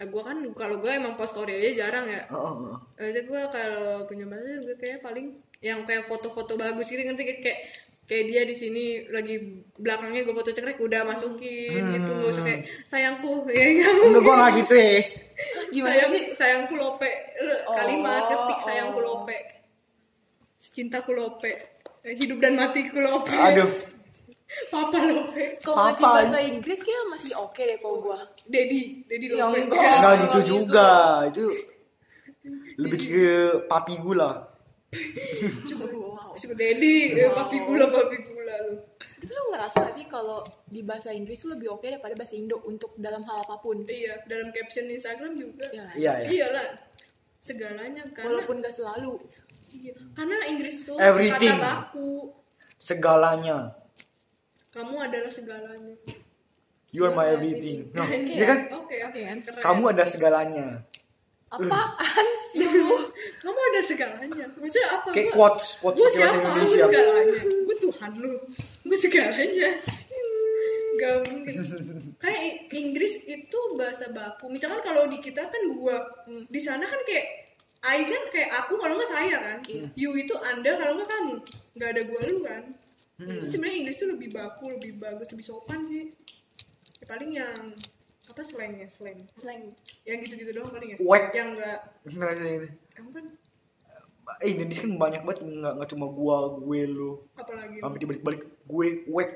[SPEAKER 1] Ah, gua kan kalau gua emang post story aja jarang ya.
[SPEAKER 2] Oh, oh, oh.
[SPEAKER 1] Aja gua kalau punya pacar gue kayak paling yang kayak foto-foto bagus gitu ngerti kayak kayak, kayak dia di sini lagi belakangnya gue foto cekrek udah masukin gitu nggak usah kayak
[SPEAKER 2] Hmm.
[SPEAKER 1] sayangku ya nggak mungkin
[SPEAKER 2] Enggak gue nggak gitu ya.
[SPEAKER 3] Hah, gimana
[SPEAKER 1] sayang,
[SPEAKER 3] sih
[SPEAKER 1] sayangku lope Lu-
[SPEAKER 3] Oh,
[SPEAKER 1] kalimat ketik
[SPEAKER 3] oh.
[SPEAKER 1] sayangku lope cintaku lope Eh, hidup dan matiku lope
[SPEAKER 2] Aduh.
[SPEAKER 1] papa lope
[SPEAKER 3] kalau masih
[SPEAKER 2] Apa?
[SPEAKER 3] bahasa Inggris kayak masih oke deh kalau gua
[SPEAKER 1] dedi dedi
[SPEAKER 3] Ya
[SPEAKER 1] lope Iya.
[SPEAKER 3] enggak.
[SPEAKER 2] Enggak
[SPEAKER 3] Kalau
[SPEAKER 2] gitu
[SPEAKER 3] gitu.
[SPEAKER 2] juga. Itu lebih ke papi gue lah.
[SPEAKER 3] wow
[SPEAKER 1] Terus gue, dedi eh,
[SPEAKER 3] Oh.
[SPEAKER 1] papi gula papi gula lu
[SPEAKER 3] tapi lu ngerasa gak sih kalau di bahasa Inggris tuh lebih oke daripada bahasa Indo untuk dalam hal apapun
[SPEAKER 1] iya dalam caption Instagram juga
[SPEAKER 3] ya kan?
[SPEAKER 2] Iya ya.
[SPEAKER 1] iyalah segalanya karena
[SPEAKER 3] walaupun gak selalu
[SPEAKER 1] Iya, karena Inggris itu
[SPEAKER 2] Everything.
[SPEAKER 1] kata baku.
[SPEAKER 2] Segalanya.
[SPEAKER 1] Kamu adalah segalanya.
[SPEAKER 2] You are my everything. Nah,
[SPEAKER 1] Oke,
[SPEAKER 2] ya kan?
[SPEAKER 1] Oke, oke kan. Iya, gitu. Keren.
[SPEAKER 2] Kamu ada segalanya.
[SPEAKER 3] apaan sih lu
[SPEAKER 1] kamu ada segalanya. Maksudnya apa?
[SPEAKER 2] Kayak
[SPEAKER 1] Gua-
[SPEAKER 2] quotes, quotes
[SPEAKER 1] Gue
[SPEAKER 2] pakai bahasa
[SPEAKER 1] siapa? Gue
[SPEAKER 2] Indonesia.
[SPEAKER 1] segalanya. Gue Tuhan lu. Gue segalanya. Gak mungkin. Karena I- Inggris itu bahasa baku. Misalkan kalau di kita kan gua,
[SPEAKER 3] Hmm.
[SPEAKER 1] di sana kan kayak I kan kayak aku kalau nggak saya kan.
[SPEAKER 2] Iya.
[SPEAKER 1] You itu anda kalau nggak kamu. Gak ada gua lu kan.
[SPEAKER 2] Hmm.
[SPEAKER 1] Sebenarnya Inggris tuh lebih baku, lebih bagus, lebih sopan sih. Ya, paling yang apa slangnya slang
[SPEAKER 3] slang
[SPEAKER 1] yang gitu-gitu doang paling ya
[SPEAKER 2] Wek.
[SPEAKER 1] yang nggak
[SPEAKER 2] Sebenarnya ini.
[SPEAKER 1] emang kan
[SPEAKER 2] Nah, iya, Eh, Indonesia kan banyak banget nggak nggak cuma gua, gue lu,
[SPEAKER 1] apalagi
[SPEAKER 2] sampai dibalik-balik gue, wek.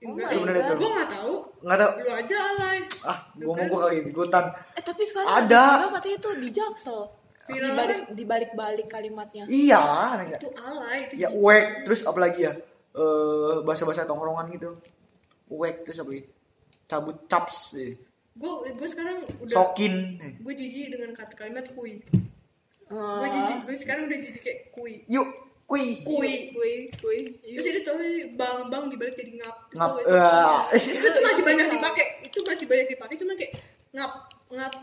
[SPEAKER 3] Oh
[SPEAKER 1] enggak
[SPEAKER 2] my God.
[SPEAKER 1] gue nggak tahu
[SPEAKER 2] Nggak tau.
[SPEAKER 1] lu aja alay
[SPEAKER 2] Ah, gua mau gua kagak ikutan.
[SPEAKER 3] eh tapi sekarang
[SPEAKER 2] Ada.
[SPEAKER 3] juga katanya tuh di jaksel
[SPEAKER 1] Viral kan?
[SPEAKER 3] dibalik dibalik balik kalimatnya
[SPEAKER 2] Iya, nanya.
[SPEAKER 1] itu alay itu
[SPEAKER 2] Ya wek, terus apa lagi ya? Eh, bahasa-bahasa tongkrongan gitu. Wek terus apa lagi? Cabut caps, eh.
[SPEAKER 1] gue gue sekarang udah
[SPEAKER 2] sokin. eh.
[SPEAKER 1] gue jijik dengan kata kalimat kui gue jijik
[SPEAKER 3] Ah.
[SPEAKER 1] gue sekarang udah jijik kayak kui
[SPEAKER 2] Yuk, kui.
[SPEAKER 1] kui
[SPEAKER 3] kui kui
[SPEAKER 1] terus itu tau sih, bang bang dibalik jadi ngap
[SPEAKER 2] Ngap.
[SPEAKER 1] Tau gak
[SPEAKER 2] eh.
[SPEAKER 1] sih? itu tuh masih banyak dipakai itu masih banyak dipakai cuma kayak ngap ngap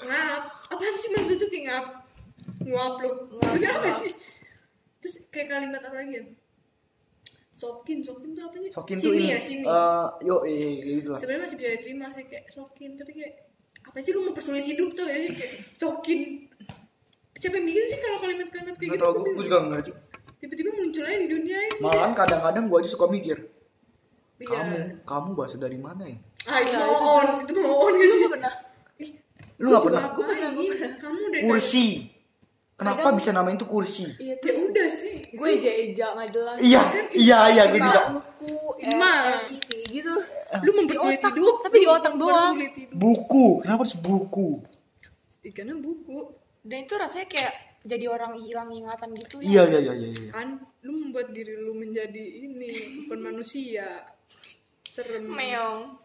[SPEAKER 1] ngap apaan sih maksud itu kayak ngap nguap lu maksudnya apa sih terus kayak kalimat apa lagi ya sokin sokin tuh apa sih
[SPEAKER 2] Sokin
[SPEAKER 1] sini
[SPEAKER 2] tuh ini.
[SPEAKER 1] ya sini
[SPEAKER 2] Eh, yuk, eh, kayak gitu lah.
[SPEAKER 1] sebenarnya masih bisa diterima sih kayak sokin tapi kayak apa sih lu mau persulit hidup tuh ya sih kayak sokin siapa yang bikin sih kalau kalimat-kalimat kayak
[SPEAKER 2] Nggak
[SPEAKER 1] gitu
[SPEAKER 2] tau,
[SPEAKER 1] Tapi
[SPEAKER 2] gua, gua juga nggak ngerti.
[SPEAKER 1] tiba-tiba muncul aja di dunia ini
[SPEAKER 2] Malahan kadang-kadang gua aja suka mikir,
[SPEAKER 1] Iya.
[SPEAKER 2] kamu, kamu bahasa dari mana ya?
[SPEAKER 1] ah itu
[SPEAKER 3] Iya,
[SPEAKER 1] mau
[SPEAKER 3] itu
[SPEAKER 1] on
[SPEAKER 3] jelas.
[SPEAKER 1] itu mau on gitu
[SPEAKER 3] lu gak pernah
[SPEAKER 2] Lu nggak pernah
[SPEAKER 1] aku pernah
[SPEAKER 3] Gua pernah.
[SPEAKER 1] kamu udah
[SPEAKER 2] kursi. Kenapa
[SPEAKER 3] Kadang-
[SPEAKER 2] bisa namain itu kursi?
[SPEAKER 3] iya
[SPEAKER 1] ya
[SPEAKER 3] terus
[SPEAKER 1] udah sih
[SPEAKER 3] gue eja eja nggak jelas eh,
[SPEAKER 2] Iya,
[SPEAKER 1] kan
[SPEAKER 2] iya, iya, gue juga.
[SPEAKER 3] buku
[SPEAKER 1] Emang.
[SPEAKER 3] isi gitu
[SPEAKER 1] lu mempersulit
[SPEAKER 3] Di otak,
[SPEAKER 1] hidup
[SPEAKER 3] tapi di otak
[SPEAKER 1] lu
[SPEAKER 3] doang.
[SPEAKER 1] mempersulit hidup.
[SPEAKER 2] Buku, kenapa harus buku?
[SPEAKER 1] Ih, karena buku
[SPEAKER 3] dan itu rasanya kayak jadi orang hilang ingatan gitu
[SPEAKER 2] Iya,
[SPEAKER 3] ya
[SPEAKER 2] iya, iya, iya. iya.
[SPEAKER 1] kan lu membuat diri lu menjadi ini bukan manusia serem
[SPEAKER 3] meong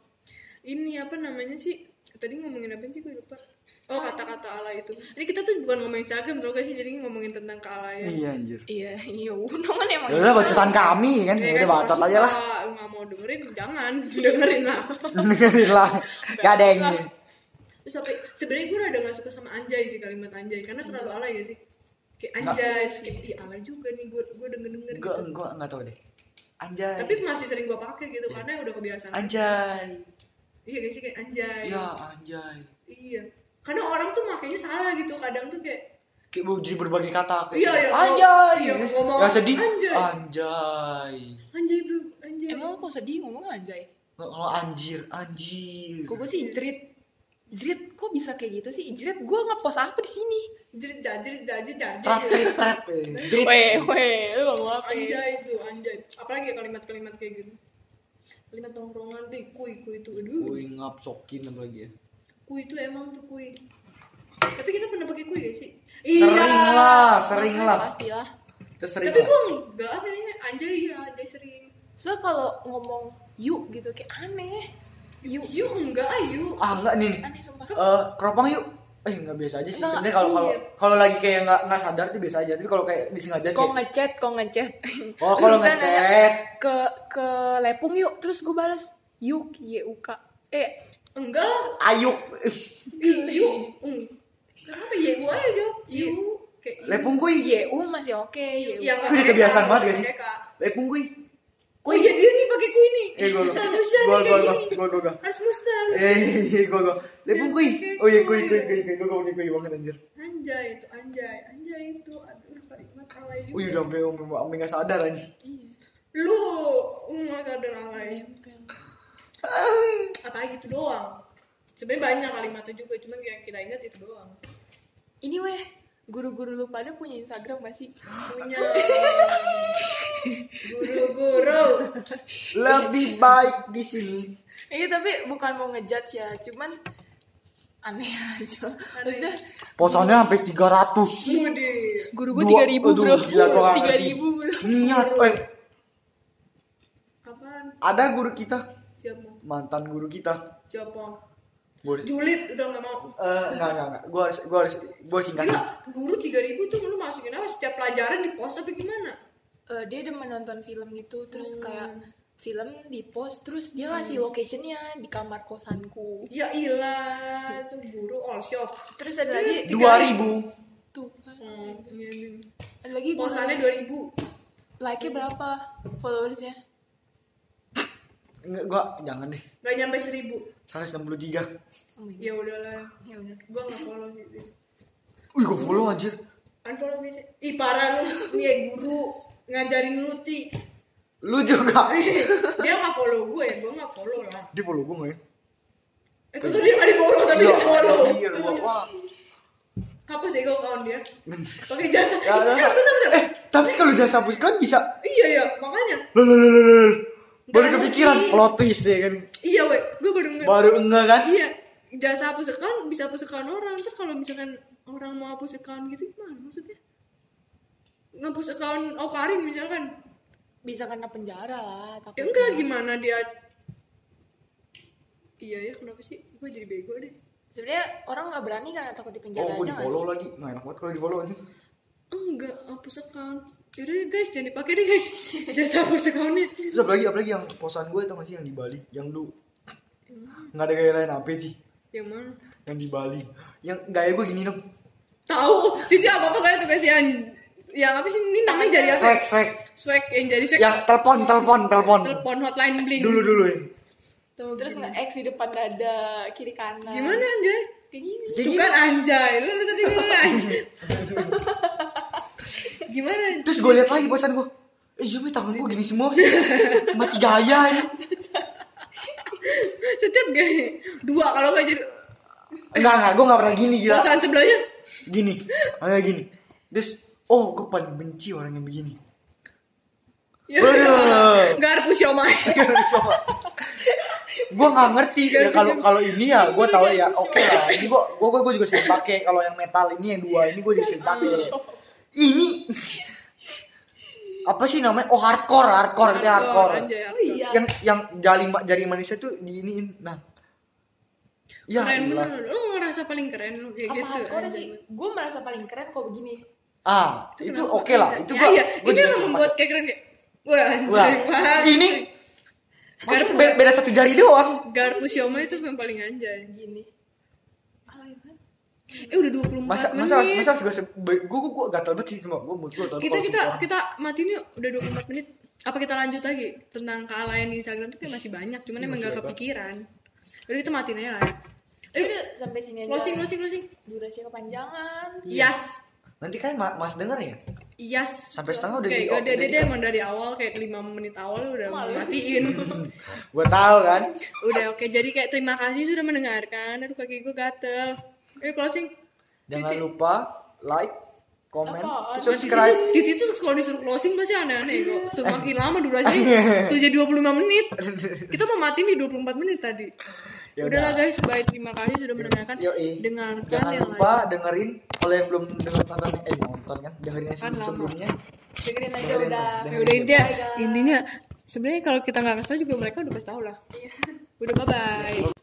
[SPEAKER 1] ini apa namanya sih tadi ngomongin apa sih gue lupa oh
[SPEAKER 2] Ah.
[SPEAKER 1] kata-kata alay itu ini kita tuh bukan ngomongin Instagram tau gak sih jadi ngomongin tentang ya. kealayan
[SPEAKER 2] Iya, anjir.
[SPEAKER 3] iya iya untung kan emang
[SPEAKER 2] Ya udah bacotan kami kan, ya
[SPEAKER 1] Iya,
[SPEAKER 2] udah bacot aja lah.
[SPEAKER 1] nggak mau dengerin jangan dengerin lah
[SPEAKER 2] Dengerin lah. Gak ada yang
[SPEAKER 1] Iya,
[SPEAKER 2] ini.
[SPEAKER 1] terus sampai sebenarnya gue rada nggak suka sama anjay sih kalimat anjay karena terlalu alay ya sih kayak anjay terus kayak "Ih, alay juga nih gue gue denger denger
[SPEAKER 2] Gue
[SPEAKER 1] gitu
[SPEAKER 2] gue nggak tahu deh. Anjay.
[SPEAKER 1] tapi masih sering gue pakai gitu
[SPEAKER 2] Iya.
[SPEAKER 1] karena udah kebiasaan
[SPEAKER 2] anjay.
[SPEAKER 1] iya gak sih kayak anjay
[SPEAKER 2] Ya anjay.
[SPEAKER 1] iya karena orang tuh makanya salah gitu kadang tuh kayak
[SPEAKER 2] Kayak mau jadi berbagai kata.
[SPEAKER 1] Iya, iya.
[SPEAKER 2] Anjay.
[SPEAKER 1] Iya,
[SPEAKER 2] Terus
[SPEAKER 1] ngomong
[SPEAKER 2] nggak sedih.
[SPEAKER 1] anjay.
[SPEAKER 2] Anjay.
[SPEAKER 1] anjay bro anjay
[SPEAKER 3] emang kok sedih ngomong anjay
[SPEAKER 2] Nggak, Kalau anjir, anjir.
[SPEAKER 3] kok gue sih jerit Jrit, kok bisa kayak gitu sih? Jrit, gue ngepost apa di sini?
[SPEAKER 1] jadi jadi jadi
[SPEAKER 2] Trap,
[SPEAKER 1] jadi
[SPEAKER 2] trap, trap. eh. Jerit.
[SPEAKER 3] Weh, weh, lu ngomong apa? ya?
[SPEAKER 1] anjay itu anjay apalagi ya kalimat-kalimat kayak gitu kalimat tongkrongan tuh kui kui itu aduh
[SPEAKER 2] Kuing ngap sokin sama lagi ya.
[SPEAKER 1] kui itu emang tuh kui tapi kita pernah pakai kui gak sih Iya.
[SPEAKER 2] Sering
[SPEAKER 3] Iya.
[SPEAKER 2] lah, sering lah.
[SPEAKER 3] Pastilah.
[SPEAKER 2] Kita sering
[SPEAKER 1] tapi
[SPEAKER 2] lah.
[SPEAKER 1] gue enggak kayaknya anjay iya anjay sering
[SPEAKER 3] So kalau ngomong yuk gitu kayak aneh. Yuk.
[SPEAKER 1] yuk enggak yuk
[SPEAKER 2] Ah enggak nih. nih.
[SPEAKER 3] Aneh sumpah.
[SPEAKER 2] Eh, keropang yuk. Eh nggak biasa aja sih.
[SPEAKER 3] Enggak,
[SPEAKER 2] Sebenarnya kalau kalau
[SPEAKER 1] iya.
[SPEAKER 2] kalau lagi kayak nggak nggak sadar tuh biasa aja. Tapi kalau kayak disengaja
[SPEAKER 3] Kok
[SPEAKER 2] kayak
[SPEAKER 3] ngechat, kok ngechat.
[SPEAKER 2] oh
[SPEAKER 3] Lu
[SPEAKER 2] kalau
[SPEAKER 3] bisa nanya,
[SPEAKER 2] ngechat
[SPEAKER 3] ke ke Lepung yuk, terus gue balas yuk YUK. Eh,
[SPEAKER 1] enggak lah
[SPEAKER 2] ayuk.
[SPEAKER 1] Ih, yuk Mm. kenapa ya gue aja jawab yuk kayak gitu. Iya, yuk.
[SPEAKER 2] Lepung
[SPEAKER 1] Iya.
[SPEAKER 2] kui.
[SPEAKER 3] YU masih oke, YU.
[SPEAKER 1] yang
[SPEAKER 2] Itu udah kebiasaan banget gak sih?
[SPEAKER 1] Kak.
[SPEAKER 2] Lepung kui.
[SPEAKER 1] Kui jadi "Oh, iya, nih pakai kui nih.
[SPEAKER 2] Eh gua gua.
[SPEAKER 1] Manusia nih
[SPEAKER 2] Gua
[SPEAKER 1] kayak
[SPEAKER 2] gua gua
[SPEAKER 1] gini.
[SPEAKER 2] gua gua. gua.
[SPEAKER 1] Harus musnah. lu.
[SPEAKER 2] Eh gua gua. Lepung kui. Oh iya kui kui kui kui. Gua ngomongin kui banget anjir.
[SPEAKER 1] Anjay itu anjay, anjay itu aduh kalimat alay juga.
[SPEAKER 2] Wih Oh, iya, udah sampai sampai- sampai nggak sadar anjir.
[SPEAKER 3] Iya.
[SPEAKER 1] Lu nggak sadar alay. Apa gitu doang. Sebenarnya banyak kalimatnya juga, cuman yang kita ingat itu doang.
[SPEAKER 3] Ini weh, guru-guru lu pada punya Instagram gak sih?
[SPEAKER 1] Punya guru-guru.
[SPEAKER 2] Lebih baik di sini.
[SPEAKER 3] Iya tapi bukan mau ngejudge ya, cuman aneh aja. Maksudnya
[SPEAKER 2] Posannya sampai 300.
[SPEAKER 1] Mudi.
[SPEAKER 3] guru gue
[SPEAKER 2] Dua-
[SPEAKER 3] tiga ribu
[SPEAKER 2] aduh,
[SPEAKER 3] bro,
[SPEAKER 2] gila, gua nggak
[SPEAKER 3] tiga
[SPEAKER 2] ngerti.
[SPEAKER 3] ribu bro.
[SPEAKER 2] Niat. Eh,
[SPEAKER 1] Apaan?
[SPEAKER 2] ada guru kita,
[SPEAKER 1] Siapa?
[SPEAKER 2] mantan guru kita.
[SPEAKER 1] Siapa?
[SPEAKER 2] Gua harus-
[SPEAKER 1] Julid udah nggak mau.
[SPEAKER 2] Eh, enggak enggak enggak. Gua harus gua harus gua harus singkat.
[SPEAKER 1] Gila, guru 3000 tuh lu masukin apa? Setiap pelajaran di pos apa gimana?
[SPEAKER 3] Eh, dia demen nonton film gitu, terus
[SPEAKER 1] Hmm.
[SPEAKER 3] kayak film di post, terus dia ngasih locationnya di kamar kosanku.
[SPEAKER 1] Ya ilah, itu guru all shop.
[SPEAKER 3] Terus ada lagi
[SPEAKER 2] 2000.
[SPEAKER 3] tuh, kan.
[SPEAKER 1] Hmm, iya, iya.
[SPEAKER 3] ada lagi guru-
[SPEAKER 1] Posannya 2000.
[SPEAKER 3] like-nya berapa followersnya?
[SPEAKER 2] Enggak gua jangan deh.
[SPEAKER 1] Gak nyampe 1000.
[SPEAKER 2] 163.
[SPEAKER 3] Oh my god.
[SPEAKER 1] Ya udahlah,
[SPEAKER 3] Ya udah.
[SPEAKER 1] gua gak follow gitu.
[SPEAKER 2] Wih, gua follow anjir.
[SPEAKER 1] Unfollow gitu. Ih parah lu, nih ya guru ngajarin lu ti.
[SPEAKER 2] Lu juga.
[SPEAKER 1] Dia gak follow gue, gue gak follow lah.
[SPEAKER 2] Dia follow gua enggak ya?
[SPEAKER 1] Eh tentu dia gak di follow tapi
[SPEAKER 2] Iya,
[SPEAKER 1] dia follow.
[SPEAKER 2] iya, gua. Wah.
[SPEAKER 1] Hapus ya gue account dia. Pakai jasa.
[SPEAKER 2] Ya,
[SPEAKER 1] eh,
[SPEAKER 2] ya, ya.
[SPEAKER 1] bentar, bentar.
[SPEAKER 2] Eh, tapi kalau jasa hapus kan bisa.
[SPEAKER 1] Iya ya, makanya.
[SPEAKER 2] Loh, loh, loh, loh, loh. Baru
[SPEAKER 1] Nggak
[SPEAKER 2] kepikiran
[SPEAKER 1] mungkin.
[SPEAKER 2] plot twist ya kan.
[SPEAKER 1] Iya weh, gue baru nge
[SPEAKER 2] Baru enggak kan?
[SPEAKER 1] Iya, jasa hapus account bisa hapus account orang. Ntar kalau misalkan orang mau hapus account gitu gimana maksudnya? Ngapus account Okarin misalkan.
[SPEAKER 3] Bisa kena penjara
[SPEAKER 1] Ya
[SPEAKER 3] lah. takutnya.
[SPEAKER 1] enggak gimana dia Iya ya kenapa sih? Gue jadi bego deh.
[SPEAKER 3] Sebenarnya orang nggak berani karena takut di penjara
[SPEAKER 2] Oh, gua
[SPEAKER 3] aja
[SPEAKER 2] di
[SPEAKER 3] nggak
[SPEAKER 2] follow
[SPEAKER 3] sih?
[SPEAKER 2] lagi. Nah, enak banget kalau di follow anjir.
[SPEAKER 1] Enggak, hapus account. Yaudah deh, guys, jangan dipakai deh guys. Jasa hapus accountnya.
[SPEAKER 2] Terus apalagi apalagi yang posan gue tau gak sih yang di Bali, yang lu nggak ada gaya lain apa sih?
[SPEAKER 1] Yang mana?
[SPEAKER 2] Yang di Bali, yang gaya gue gini dong.
[SPEAKER 1] Tahu, jadi apa apa kayak tuh guys yang yang apa sih ini namanya jadi apa?
[SPEAKER 2] Swag, swag.
[SPEAKER 1] Swag yang jadi swag.
[SPEAKER 2] Yang Ya, telepon, telepon, telepon.
[SPEAKER 1] Telepon hotline bling.
[SPEAKER 2] Dulu dulu ya.
[SPEAKER 1] Tuh,
[SPEAKER 3] Terus Nah. nge-X di depan dada kiri kanan.
[SPEAKER 1] Gimana anjay?
[SPEAKER 3] Kayak gini.
[SPEAKER 2] Kayak gitu.
[SPEAKER 1] Itu
[SPEAKER 2] gini.
[SPEAKER 1] kan anjay. Lu lu tadi gimana? anjay? gimana?
[SPEAKER 2] Terus gue lihat lagi posan gue. Eh iya, Mi, tangan gue gini semua. Mati gaya ini.
[SPEAKER 1] Setiap gay dua kalau nggak jadi
[SPEAKER 2] Enggak enggak, gue nggak pernah gini gila.
[SPEAKER 1] pasangan sebelahnya
[SPEAKER 2] Gini, kayak gini. Terus, oh gue paling benci orang yang begini.
[SPEAKER 1] Ya,
[SPEAKER 2] Bener.
[SPEAKER 1] garpu siomay.
[SPEAKER 2] Kan gue nggak ngerti ya kalau kalau ini ya gue tahu ya oke lah ini gue gue gue juga sering pakai kalau yang metal ini yang dua ini gue juga sering pakai ini apa sih namanya oh hardcore hardcore itu hardcore
[SPEAKER 1] anjay,
[SPEAKER 3] Oh
[SPEAKER 1] hardcore.
[SPEAKER 3] iya.
[SPEAKER 2] yang yang jari ma- jari manisnya tuh diiniin nah ya
[SPEAKER 1] keren
[SPEAKER 2] Allah.
[SPEAKER 1] bener. Lu ngerasa paling keren lu kayak
[SPEAKER 3] Apa
[SPEAKER 1] gitu.
[SPEAKER 3] hardcore
[SPEAKER 1] anjay.
[SPEAKER 3] sih? Gue merasa paling keren kok begini.
[SPEAKER 2] ah itu
[SPEAKER 1] Kenapa?
[SPEAKER 2] oke lah itu
[SPEAKER 1] Ya,
[SPEAKER 2] gue
[SPEAKER 1] iya. Itu emang membuat kayak keren kayak Wah,
[SPEAKER 2] Wah,
[SPEAKER 1] anjay, wah.
[SPEAKER 2] ini
[SPEAKER 1] Karena-
[SPEAKER 2] maksudnya be- beda satu jari doang
[SPEAKER 1] Garpu siomay itu yang paling anjay.
[SPEAKER 3] Gini. Alay banget.
[SPEAKER 1] Eh udah 24
[SPEAKER 2] masa
[SPEAKER 1] menit.
[SPEAKER 2] masa masa gue gue gue gatal banget sih cuma gue mood gue gatal
[SPEAKER 1] kita
[SPEAKER 2] kalau
[SPEAKER 1] kita
[SPEAKER 2] semua orang.
[SPEAKER 1] kita matiin yuk udah 24 menit apa kita lanjut lagi tentang kealayan di Instagram itu kayak masih banyak cuman
[SPEAKER 2] Iya,
[SPEAKER 1] emang
[SPEAKER 2] masih
[SPEAKER 1] gak
[SPEAKER 2] ada.
[SPEAKER 1] kepikiran udah kita matiin aja lah
[SPEAKER 3] Ya
[SPEAKER 1] Ayo,
[SPEAKER 3] udah sampai sini aja.
[SPEAKER 1] closing closing closing
[SPEAKER 3] Durasi kepanjangan.
[SPEAKER 2] Iya.
[SPEAKER 1] yes
[SPEAKER 2] Nanti kan ma- Mas denger ya?
[SPEAKER 1] Yes.
[SPEAKER 2] Sampai setengah Oh, udah
[SPEAKER 1] kayak,
[SPEAKER 2] di-
[SPEAKER 1] udah,
[SPEAKER 2] udah gitu.
[SPEAKER 1] dia,
[SPEAKER 2] di-
[SPEAKER 1] dia emang dari awal kayak 5 menit awal udah
[SPEAKER 3] Malu.
[SPEAKER 1] matiin.
[SPEAKER 2] Gue tahu kan.
[SPEAKER 1] udah oke jadi kayak terima kasih sudah mendengarkan. Aduh kaki gue gatel. Ayo closing.
[SPEAKER 2] Jangan lupa like, komen,
[SPEAKER 3] Apaan?
[SPEAKER 2] subscribe.
[SPEAKER 1] Titi tuh kalau disuruh closing pasti aneh-aneh kok. Tuh makin lama
[SPEAKER 2] Iya.
[SPEAKER 1] durasinya tuh jadi 25 menit. Kita mau matiin di 24 menit tadi.
[SPEAKER 2] Ya
[SPEAKER 1] Udahlah guys, baik terima kasih sudah mendengarkan.
[SPEAKER 2] Yoi.
[SPEAKER 1] Dengarkan
[SPEAKER 2] Jangan
[SPEAKER 1] yang
[SPEAKER 2] lupa
[SPEAKER 1] lain.
[SPEAKER 2] dengerin kalau yang belum denger nonton eh nonton kan dengerin
[SPEAKER 1] Kan
[SPEAKER 2] yang sebelum
[SPEAKER 1] lama.
[SPEAKER 2] sebelumnya
[SPEAKER 3] dengerin aja
[SPEAKER 2] Dengerin,
[SPEAKER 3] udah
[SPEAKER 1] Ya udah intinya,
[SPEAKER 3] Bye, guys. Iya.
[SPEAKER 1] intinya sebenarnya kalau kita nggak ngasih tau juga mereka udah pasti tahu lah. Udah bye bye.